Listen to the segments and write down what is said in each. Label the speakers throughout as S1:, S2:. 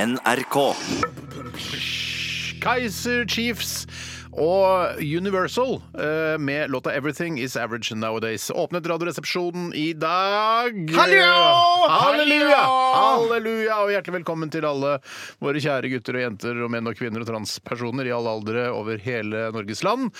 S1: NRK.
S2: Kaiser Chiefs og Universal eh, med låta 'Everything Is Average Nowadays'. Åpnet Radioresepsjonen i dag.
S3: Hallo!
S2: Halleluja!
S3: Hallo!
S2: Halleluja! Og hjertelig velkommen til alle våre kjære gutter og jenter og menn og kvinner og transpersoner i alle aldre over hele Norges land.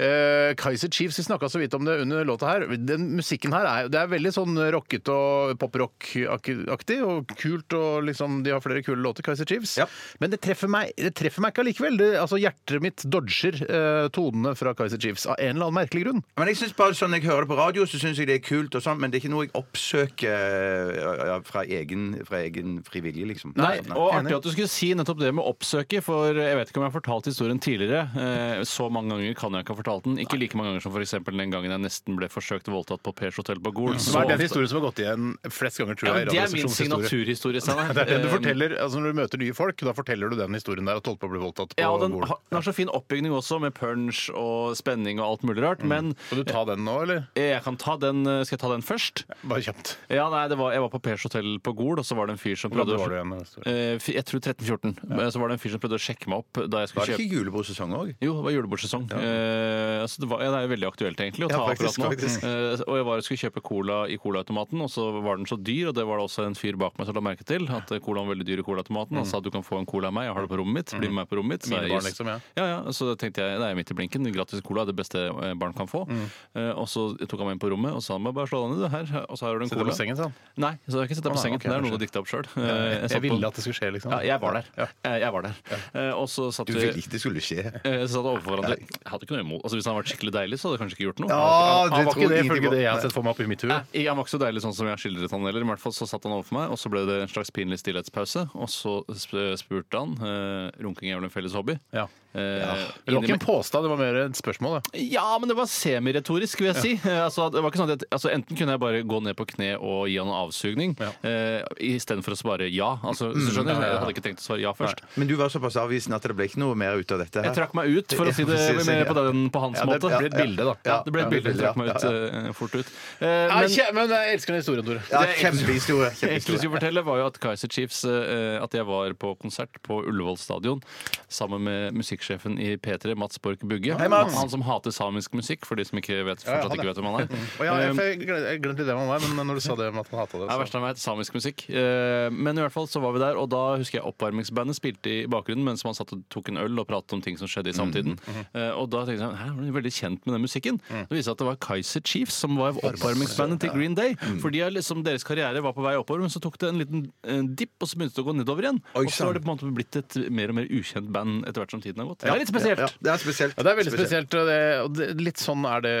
S2: Eh, Kaiser Chiefs, vi snakka så vidt om det under låta her. Den musikken her er, det er veldig sånn rockete og poprock-aktig og kult, og liksom de har flere kule låter, Kaiser Chiefs.
S3: Ja.
S2: Men det treffer meg, det treffer meg ikke allikevel. Det, altså, hjertet mitt dodger eh, tonene fra Kaiser Chiefs av en eller annen merkelig grunn.
S3: Men jeg synes bare sånn jeg hører det på radio, så syns jeg det er kult, og sånn, men det er ikke noe jeg oppsøker eh, ja, fra egen, fra egen frivillig, liksom.
S4: Nei, og
S3: Enig.
S4: artig at du skulle si nettopp det med oppsøke, for jeg vet ikke om jeg har fortalt historien tidligere. Eh, Så mange ganger kan jeg ikke ha fortalt den. Ikke like mange ganger som f.eks. den gangen jeg nesten ble forsøkt voldtatt på Pers hotell på Gol.
S2: Det
S4: Så
S2: Mm. er den
S4: ofte-
S2: historien som har gått igjen flest ganger, tror
S4: Ja,
S2: jeg. i
S4: men det er min
S2: Radioresepsjonens historie.
S4: signaturhistorie, Steinar.
S2: Det er den du
S4: Eh,
S2: forteller, altså Når du møter nye folk, da forteller du den historien der at du holdt på å bli voldtatt på
S4: Eh, Ja, og den
S2: Gol.
S4: har, den har så fin oppbygning også, med punch og spenning og alt mulig rart. Men eh,
S2: Skal Mm. du ta den nå, eller?
S4: jeg kan ta den, skal jeg ta den først?
S2: Bare kjapt.
S4: Ja, nei, det var, Jeg var på Pers hotell på Gol, og så var det en fyr som
S2: Hvordan
S4: prøvde å-
S2: var det igjen? Astrid?
S4: Eh, fi- Jeg tror 13-14. Eh, Så var det en fyr som prøvde å sjekke meg opp da jeg skulle
S3: Var det
S4: kjøpe
S3: ikke julebordsesong òg?
S4: Jo, det var julebordsesong. Eh, altså det, var, ja, det er jo veldig aktuelt egentlig å ta
S3: Ja, faktisk,
S4: akkurat nå.
S3: faktisk.
S4: Eh, og jeg var og skulle kjøpe cola i colaautomaten, og så var den så dyr, og det var det også en fyr bak meg som la merke til, at eh, colaen var veldig dyr i colaautomaten. Han sa du kan få en cola av meg, jeg har det på rommet mitt, bli med meg på rommet mitt. Så
S2: Mine
S4: jeg,
S2: barn,
S4: yes.
S2: Mm. liksom, ja.
S4: Ja, ja, så tenkte jeg det er midt i blinken, gratis cola er det beste eh, barn kan få.
S2: Mm.
S4: Eh, og så tok han meg inn på rommet og sa meg bare slå deg ned, du, her, og så her har du en
S2: Sitter
S4: cola.
S2: på sengen, sa han.
S4: Nei, så jeg har ikke sett deg
S2: Å,
S4: på
S2: nei,
S4: sengen.
S2: ok,
S4: det er
S2: kanskje.
S4: noe du dikta opp Eh, sjøl.
S2: Jeg ville at det skulle skje, liksom.
S4: ja, jeg var der. Eh, Jeg var der. Eh, Og så satt
S3: Du
S4: vi-
S3: ville ikke det skulle skje.
S4: Eh, Så satt overfor hverandre. Jeg hadde ikke noe imot. Altså, hvis han hadde vært skikkelig deilig, så hadde jeg kanskje ikke gjort noe.
S3: Ja,
S4: han,
S3: det
S4: han, var
S3: tror
S4: ikke,
S2: Det
S3: jeg
S2: er ifølge
S3: Ingenting-
S2: det jeg har sett for meg oppi mitt hue.
S4: Nei, han var ikke så deilig sånn som jeg skildret han heller. I hvert fall så satt han overfor meg, og så ble det en slags pinlig stillhetspause. Og så sp- spurte han eh, Runking er vel en felles hobby?
S2: Ja.
S4: Eh,
S2: Det var
S4: inni
S2: ikke en
S4: meg-
S2: påstand, det var mer et spørsmål. Da.
S4: ja, men det var semiretorisk, vil jeg si. Eh, Altså, det var ikke sånn at, altså, enten kunne jeg bare gå ned på kne og gi han en avsugning,
S2: Ja.
S4: eh, istedenfor å svare ja. Altså, hvis du skjønner, Jeg hadde ikke tenkt å svare ja først.
S3: Men du var såpass avvisende at det ble ikke noe mer ut av dette her.
S4: Jeg trakk meg ut, for å si det
S3: Ja, precis,
S4: mer
S3: ja.
S4: på, den, på hans
S2: det
S4: måte.
S2: ble et bilde, da.
S4: Ja, det ble et
S3: Ja,
S4: bilde. Jeg
S3: ja,
S4: trakk meg ut
S3: ja,
S4: eh, fort ut. Eh,
S2: Nei,
S4: men
S2: kje- men jeg elsker den historien, Tore.
S3: Ja,
S4: Det er-
S3: kjempehistorie.
S4: det jeg egentlig
S3: kjempehistorie.
S4: skulle fortelle, var jo at Kaiser Chiefs eh, At jeg var på konsert på Ullevål stadion sammen med musikksjefen i P3, Mats Borch Bugge.
S3: Mats.
S4: Han som hater samisk musikk, for de som ikke vet, fortsatt
S2: han,
S4: ikke
S2: ja.
S4: vet hvem han er.
S2: Å, ja, jeg
S4: Eh,
S2: jeg glemte jeg glemte litt det med meg, men når du sa det om at han hata det
S4: Det er
S2: så-
S4: verst av meg, samisk musikk. Eh, Men i hvert fall så var vi der, og da husker jeg oppvarmingsbandet spilte i bakgrunnen mens man satt og tok en øl og pratet om ting som
S3: Mm,
S4: skjedde i samtiden. Eh, Og da tenkte jeg Hæ, var du veldig kjent med den musikken.
S3: Mm.
S4: Det viste seg at det var Kaiser Chiefs som var oppvarmingsbandet til Green Day.
S3: Mm.
S4: For de er liksom, deres karriere var på vei oppover, men så tok det en liten eh, dipp, og så begynte det å gå nedover igjen.
S3: Oi,
S4: Og så
S3: sant.
S4: har det på en måte blitt et mer og mer ukjent band etter hvert som tiden har gått. Det er litt spesielt.
S3: Ja, det er spesielt.
S2: Ja, det er veldig spesielt. og Det, og det, litt sånn er det,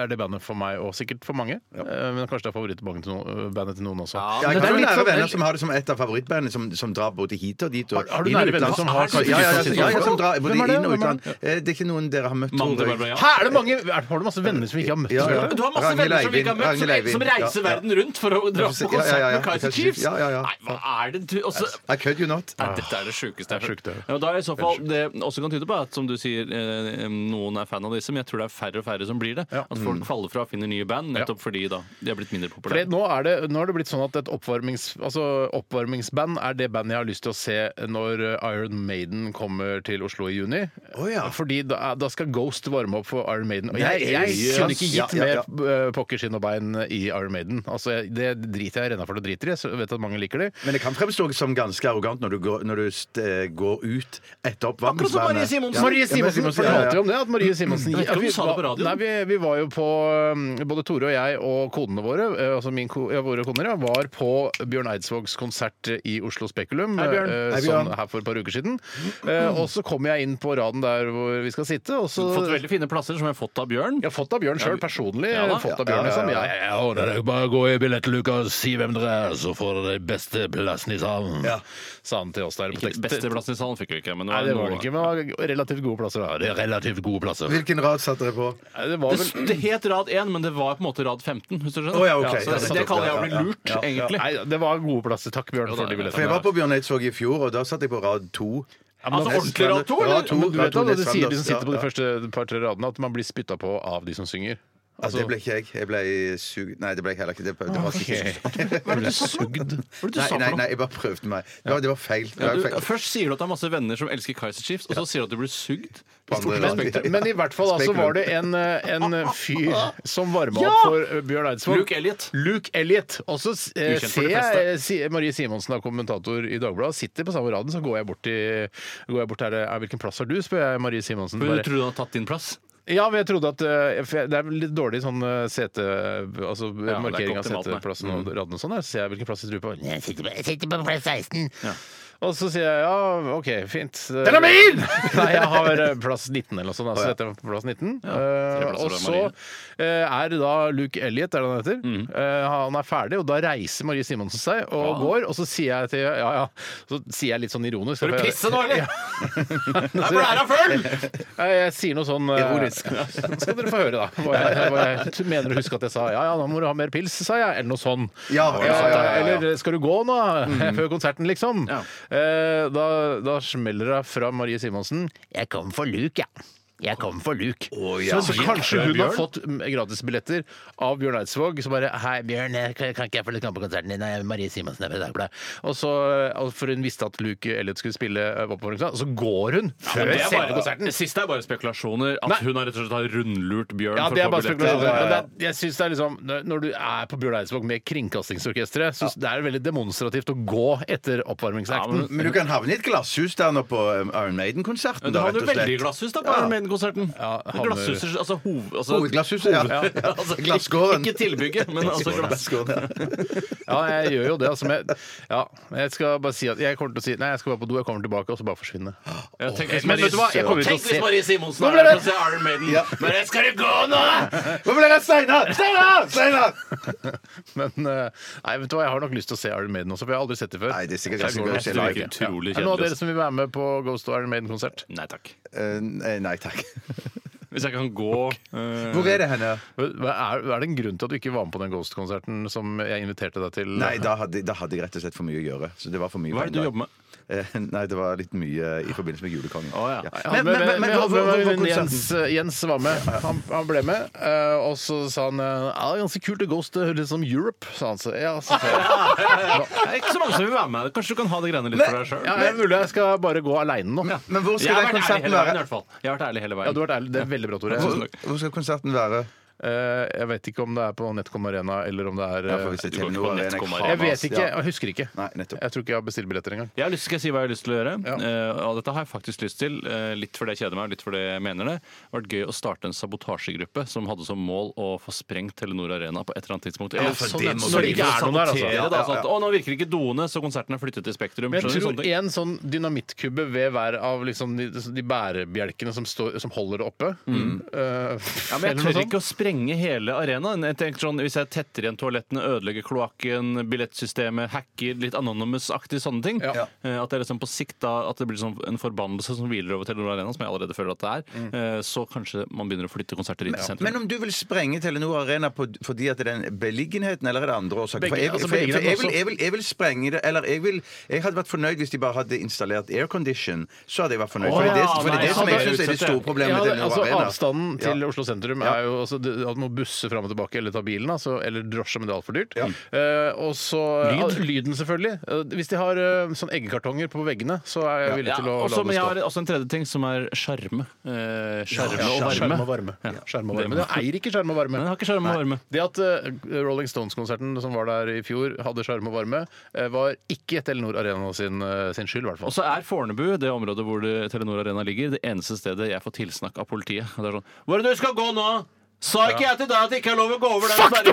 S2: er det bandet for meg, og sikkert for mange. Eh, Men kanskje det er favorittbandet til, noen- bandet til noen også.
S4: Ja,
S3: Ja,
S2: Men det er
S3: jeg har jo
S2: litt
S3: nære
S2: sånn-
S3: venner som har det som et av favorittbandene, som, som drar både hit og dit. Og
S2: Har- har du
S3: inn og
S2: nære venner
S3: utland.
S2: som har
S3: ja, ja, ja, ja, ja, som drar både
S2: Hvem er det?
S3: inn og
S2: Hvem er det?
S3: utland. Eh, Det er ikke noen dere har møtt,
S4: Mannen til
S3: tror jeg.
S4: Barbara, ja.
S2: Hæ, er det mange, er, har du masse venner som ikke har møtt?
S3: Ja, ja.
S2: før?
S4: Du har masse
S3: Ragnhild
S4: venner som vi ikke har møtt,
S3: Eivind,
S4: som,
S3: Ragnhild Eivind,
S4: som
S3: ja,
S4: reiser
S3: ja.
S4: verden rundt for å dra
S3: Ja,
S4: på
S3: ja,
S4: konsert
S3: ja, ja.
S4: med Kaiser Chiefs.
S3: Ja, ja, ja.
S4: Nei, hva er det du også,
S3: I could you not.
S4: Nei, dette er det sjukeste jeg har
S2: Det er sjukt, det.
S4: hørt. Ja, da er i så fall, det også kan tyde på at som du sier, eh, noen er fan av disse, men jeg tror det er færre og færre som blir det.
S2: Ja.
S4: At folk faller fra og finner nye band, nettopp fordi da de er blitt mindre
S2: For det,
S4: populære.
S2: nå, er det, nå er det blitt sånn at et oppvarmings, altså oppvarmingsband er det bandet jeg har lyst til å se når eh, Iron Maiden kommer til Oslo i juni.
S3: Å, ja.
S2: Fordi da, da skal Ghost varme opp for Iron Maiden. Og
S3: Nei,
S2: jeg, jeg
S3: yes.
S2: kunne ikke gitt
S3: Ja, ja, ja.
S2: mer eh, pokker, skinn og bein i Iron Maiden. Altså, jeg- det driter jeg renna for det driter i. så Jeg vet at mange liker det.
S3: Men det kan fremstå som ganske arrogant når du går, når du st eh, går ut etter oppvarmingsbandet.
S4: Akkurat som Marie Simonsen.
S2: Marie Simonsen, for det
S3: ja,
S2: handler
S3: ja.
S2: jo om det, at Marie Simonsen
S4: Jeg vet ikke om
S2: vi,
S4: hun sa det på
S2: var-
S4: radioen.
S2: Nei, vi, vi var jo på um, Både Tore og jeg og konene våre, eh, altså min ko, ja, våre koner, ja, var på Bjørn Eidsvågs konsert i Oslo Spekulum
S4: Hei, Bjørn.
S2: eh,
S3: Hei,
S2: sånn
S3: Bjørn.
S2: her for et par uker siden. Eh, og så kom jeg inn på raden der hvor vi skal sitte, og så
S4: Fått veldig fine plasser, som jeg har fått av Bjørn.
S2: jeg har fått av Bjørn sjøl, personlig.
S4: Ja da.
S2: fått av Bjørn,
S3: Ja, ja,
S2: liksom.
S3: ja,
S2: Ja,
S3: ja.
S2: ja, ja.
S5: Ja, det er bare å gå i billettluka og si hvem dere er, så får dere de beste plassene i salen.
S3: Ja.
S2: Sa han til oss der på
S4: Ikke
S2: tekst.
S4: beste plassen i salen fikk vi ikke, men det
S2: Nei,
S4: var,
S2: det var det
S4: noe.
S2: ikke, men det var relativt gode plasser. Da.
S5: Det er relativt gode plasser.
S3: Hvilken rad satte dere på?
S2: Nei, Det var
S4: Det,
S2: vel
S4: det het rad 1, men det var på en måte rad 15, hvis du skjønner.
S3: Å, ja, ok.
S4: så det, det kaller jeg å bli lurt,
S3: Ja, ja, ja.
S4: egentlig.
S2: Nei, det var gode plasser. Takk, Bjørn,
S4: Jo da,
S2: for de
S3: For
S4: ja.
S3: jeg
S2: billettene.
S3: var på Bjørn Eidsvåg i fjor, og da satt jeg på rad to.
S4: Altså ordentlig rad 2,
S3: Rad
S4: eller?
S3: to.
S2: Men du vet
S3: Rad to
S2: da, det sier de
S3: Nesvanders,
S2: som sitter på
S3: ja,
S2: de første par-tre radene, at man blir spytta på av de som synger.
S3: Ja,
S4: Altså-
S3: det ble ikke jeg. Jeg ble sugd Nei, det ble jeg heller ikke. Det, det var ikke
S2: Hva er det du sa for noe? Hva er det du sa
S3: Nei,
S2: for
S3: nei,
S2: noe?
S3: nei, jeg bare prøvde meg. Det var, det var feil. Det
S4: Ja,
S3: var
S4: du,
S3: feil.
S4: først sier du at det er masse venner som elsker Kaiser Chiefs, og så sier du at du blir sugd.
S3: På andre
S4: Stort
S3: rad.
S4: respekt.
S3: Ja.
S2: Men i hvert fall altså,
S3: Spekulum.
S2: var det en, eh, en fyr som varma
S4: Ja!
S2: opp for eh, Bjørn Eidsvåg.
S4: Luke Elliot.
S2: Luke Elliot. Og så eh,
S4: Ukjent for
S2: ser
S4: de
S2: jeg
S4: fleste.
S2: eh, si- Marie Simonsen, da, kommentator i Dagbladet, sitter på samme raden, så går jeg bort til går jeg bort til, «Er- Hvilken plass har du? spør jeg Marie Simonsen.
S4: Du
S2: Bare,
S4: trodde han hadde tatt din plass?
S2: ja, men jeg trodde at eh, for jeg- Det er vel litt dårlig sånn eh, sete... Altså
S4: er
S2: markering
S4: ikke
S2: av
S4: optimalt, nei. Mm.
S2: seteplassen og radene og sånn. der, Så sier jeg hvilken plass sitter du på.
S1: Jeg sitter på, jeg sitter på plass 16.
S2: Og så sier jeg ja, OK, fint. Den er min! Nei, jeg har eh, plass 19 eller noe sånt. da, Så dette er på plass 19. Eh,
S4: plasser
S2: og
S4: over
S2: så eh, er da Luke Elliot, er det han heter,
S4: Mm.
S2: Eh, han er ferdig, og da reiser Marie Simonsen seg og
S4: Ah.
S2: går, og så sier jeg til Ja, ja. Så sier jeg litt sånn ironisk.
S4: Skal du
S2: for jeg-
S4: pisse nå, eller?
S2: Nei,
S4: Her ble æra full!
S2: jeg, jeg sier noe sånn eh,
S3: Ironisk.
S2: ja, så Skal dere få høre, da. Hva jeg, hva jeg mener å huske at jeg sa ja, ja, nå må du ha mer pils, sa jeg, eller noe sånn.
S3: Ja, ja, ja, ja, Mm. ja.
S2: Eller skal du gå nå? Før konserten, liksom.
S4: Ja.
S2: Eh, da, da smeller det fra Marie Simonsen.
S1: Jeg kom for Luke, ja. Jeg kom for Luke.
S2: Så, så kanskje hun har fått mm, gratisbilletter av Bjørn Eidsvåg, som bare Hei, Bjørn, jeg kan kan ikke jeg få litt kamp på konserten din? Jeg er Marie Simonsen er fra Dagbladet. Og så, eh, og for hun visste at Luke Elliot skulle spille eh, oppvarmingskonsert, og så går hun før
S4: Det, er
S2: selve
S4: bare,
S2: konserten.
S4: det siste er bare spekulasjoner. At hun har rett og slett har rundlurt Bjørn.
S2: Ja,
S4: for
S2: det
S4: å
S2: er
S4: få
S2: bare
S4: billetter.
S2: spekulasjoner. Men det er, jeg synes det er liksom, når- når du er på Bjørn Eidsvåg med Kringkastingsorkesteret, så det er veldig demonstrativt å gå etter
S4: Ja,
S2: oppvarmingsakten.
S3: Men du kan havne i et glasshus der nå på um, Iron Maiden-konserten.
S4: Men det
S3: da, rett
S4: hadde jo
S3: og slett.
S4: veldig glasshus da på Iron Maiden-konserten.
S2: Ja, havner-
S4: Glasshuset, altså hov... Altså,
S3: Hovedglasshuset, ja. ja. ja.
S4: altså,
S3: Glasskåren.
S4: Ikke tilbygget, men altså glass.
S3: Glasskåren, ja.
S2: Ja, jeg gjør jo det. Altså, men, ja, jeg skal bare si at jeg kommer til å si Nei, jeg skal bare på do, jeg kommer tilbake, og så bare forsvinne.
S4: Ja, tenk hvis
S2: Men
S4: Marie-
S2: vet du hva, jeg kommer til å
S4: Tenk
S2: se-
S4: hvis Marie Simonsen
S2: Nå
S4: er
S2: ble
S4: her
S2: det-
S4: og ser Iron Maiden.
S3: Ja.
S4: Men jeg skal du gå nå?!
S3: Hvor ble det av Steinar? Steinar! Steinar!
S2: Men eh, nei, vet du hva, jeg har nok lyst til å se Iron Maiden også, for jeg har aldri sett det før.
S3: Nei, det er sikkert
S2: Så jeg
S3: ganske
S2: går
S3: gøy å
S2: nok
S3: se
S2: til å
S3: live.
S2: ikke.
S4: Utrolig
S2: Ja. Er det noen av
S4: kjedelig.
S2: dere som vil være med på Ghost og Iron Maiden-konsert?
S4: Nei takk.
S3: Eh, Nei takk.
S4: Hvis jeg kan gå eh,
S3: Hvor er det henne?
S2: Hva Er, er det en grunn til at du ikke var med på den Ghost-konserten som jeg inviterte deg til?
S3: Nei, da hadde, da hadde jeg rett og slett for mye å gjøre. Så det var for mye
S4: Hva er det du jobber med?
S3: med? Nei, det var litt mye i forbindelse med julekongen.
S4: Å, ja.
S2: Jeg hadde med- med- med- jeg hadde med meg venninnen Jens,
S3: konserten?
S2: Jens var med. Han, han ble med. eh, og så sa han eh, ja, det er ganske kult, det Ghost det høres ut som Europe. Sa han så. Ja, så sa jeg,
S4: Det er ikke så mange som vil være med. Kanskje du kan ha det greiene litt for deg sjøl?
S2: ja, det er mulig jeg skal bare gå aleine nå. Ja,
S3: Men hvor
S4: Jeg
S3: skal den
S4: har vært ærlig
S3: konserten
S4: hele veien, i
S3: være?
S4: hvert fall. Jeg har vært ærlig hele veien.
S2: du har vært ærlig. Det er veldig bra, Tore.
S3: Hvor, hvor skal konserten være?
S2: Eh, jeg vet ikke om det er på Netcom Arena eller om det er eh,
S3: Ja, for hvis det er
S4: du kan ikke
S3: Telenor
S4: på
S3: Arena,
S4: Netcom
S3: jeg
S4: Arena.
S2: Jeg
S3: faen,
S2: vet
S3: ass.
S2: ikke.
S3: Ja.
S2: Jeg husker ikke.
S3: Nei, nettopp.
S2: Jeg tror ikke jeg har bestilt billetter engang.
S4: Jeg har lyst, skal jeg si hva jeg har lyst til å gjøre?
S2: Ja.
S4: Eh, og dette har jeg faktisk lyst til. eh, litt fordi jeg kjeder meg, og litt fordi jeg mener det. Det har vært gøy å starte en sabotasjegruppe som hadde som mål å få sprengt Telenor Arena på et eller annet tidspunkt. Eller
S3: for
S4: sånn
S3: det
S4: en-
S3: må
S4: når
S3: bli-
S4: det ikke er noen der, altså.
S3: Ja, ja,
S4: Da, sånn at,
S3: ja.
S4: å, nå virker ikke doene, så konserten er flyttet til Spektrum.
S2: Men jeg
S4: Skjønner du
S2: tror
S4: sånne ting?
S2: en sånn dynamittkubbe ved hver av liksom de, de bærebjelkene som, står, som holder det oppe eh,
S4: Ja,
S2: eller
S4: men jeg
S2: noe
S4: tør
S2: sånt.
S4: ikke å sprenge hele arenaen. Jeg tenker sånn, Hvis jeg tetter igjen toalettene, ødelegger kloakken, billettsystemet, hacker litt anonymous-aktig sånne ting
S2: Ja.
S4: eh, At det er liksom på sikt da, at det blir sånn en forbannelse som hviler over Telenor Arena, som jeg allerede føler at det er,
S2: Mm.
S4: eh, så kanskje man begynner å flytte konserter inn til sentrum.
S3: Men om du vil sprenge Telenor Arena på, fordi at det er den beliggenheten, eller er det andre årsaker?
S2: Begge-
S3: For jeg, vil-
S2: altså
S3: for jeg, for jeg,
S2: beliggenheten
S3: vil, jeg, vil, jeg vil sprenge det Eller jeg, vil, jeg hadde vært fornøyd hvis de bare hadde installert aircondition. Så hadde jeg vært fornøyd.
S4: Å
S3: For det er det,
S4: ja,
S3: for det, er
S4: nei,
S3: det som
S4: ja,
S3: jeg
S4: det
S3: syns er det
S4: utsetter
S3: store
S4: jeg.
S3: problemet
S2: Ja,
S3: med Telenor
S2: altså
S3: Arena.
S2: Avstanden
S3: Ja.
S2: til Oslo sentrum er jo altså, det, at man må busse fram og tilbake eller ta bilen, altså, eller drosje, men det er altfor dyrt. Eh, og så
S4: Lyd?
S2: ja, lyden, selvfølgelig. Eh, hvis de har eh, sånn eggekartonger på veggene, så er jeg villig
S4: Ja,
S2: til å
S4: også, men jeg
S2: la
S4: har
S2: det stå.
S4: også en tredje ting, som er skjerme. Eh, skjerme og
S2: Ja,
S4: varme.
S2: Skjerm og varme. Ja. Skjerm og varme.
S4: Det må-
S2: Men jeg eier ikke skjerm og varme.
S4: Men jeg har ikke skjerme og varme.
S2: Det at eh, Rolling Stones-konserten som var der i fjor, hadde sjarm og varme, eh, var ikke Telenor Arena sin, eh, sin skyld, i hvert
S4: Og
S2: fall.
S4: så er Fornebu, det området hvor det, Telenor Arena ligger, det eneste stedet jeg får tilsnakk av politiet. Og det er sånn Hvor er det du skal gå nå? Sa ikke jeg til deg at det ikke er lov å gå over den sperringa?»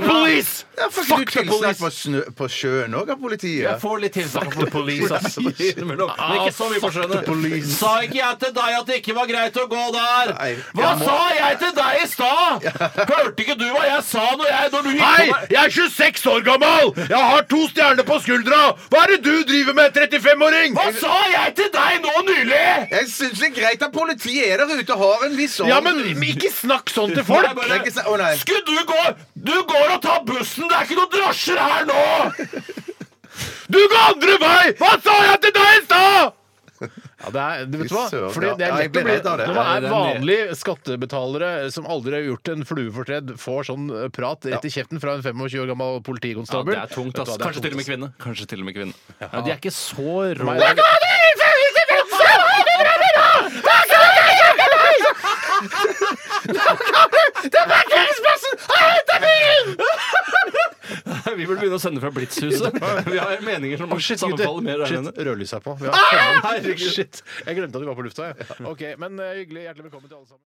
S3: Ja, for ikke du tilsnakk på, snø, på sjøen òg av politiet?
S4: Jeg får litt tilsnakk av politiet. ass. Innimellom. Men ikke så mye på skjønnet. Sa ikke jeg til deg at det ikke var greit å gå der?
S3: Nei,
S4: Hva
S3: jeg må-
S4: sa jeg til deg i stad? Hørte ikke du hva jeg sa når jeg når du gikk på meg?
S2: Jeg er 26 år gammel! Jeg har to stjerner på skuldra! Hva er det du driver med, 35-åring?
S4: Hva sa jeg til deg nå nylig?
S3: Jeg syns det er greit at politiet er der ute og har en viss orden.
S2: Ja, men ikke snakk sånn til folk!
S4: Jeg bare-
S3: Det er ikke så- Å nei.
S4: Skulle du gå Du går og tar bussen! Det er ikke noen drosjer her nå!
S2: Du går andre vei! Hva sa jeg til deg i stad?! Ja, det er, du vet
S3: Fy
S2: hva?
S3: søren,
S2: Fordi
S3: ja.
S2: det er
S3: Ja, jeg
S2: lett å
S3: ble
S2: bli
S3: redd av det.
S2: Når
S3: Ja,
S2: man
S3: det
S2: er
S3: er mye.
S2: vanlige skattebetalere som aldri har gjort en flue for tredd, får sånn eh, prat rett i kjeften fra en 25 år gammel
S4: Ja,
S2: politikonstabel
S4: det er tungt, ass.
S2: Vet du hva, det er
S4: Kanskje til og med
S2: tungt,
S4: kvinne. Kanskje til og med kvinne. Ja, de er ikke så rå.
S2: ass. Nei, det er-
S4: Vi burde begynne å sende fra Blitzhuset. Vi har meninger som
S2: Å, Shit,
S4: sammenfaller mer Ah!
S2: gutter!
S4: der
S2: Shit,
S4: enn
S2: Rødlyset er på. Vi har- Shit. Jeg glemte at vi var på lufta. jeg. Ok, Men eh, hyggelig. Hjertelig velkommen til alle sammen.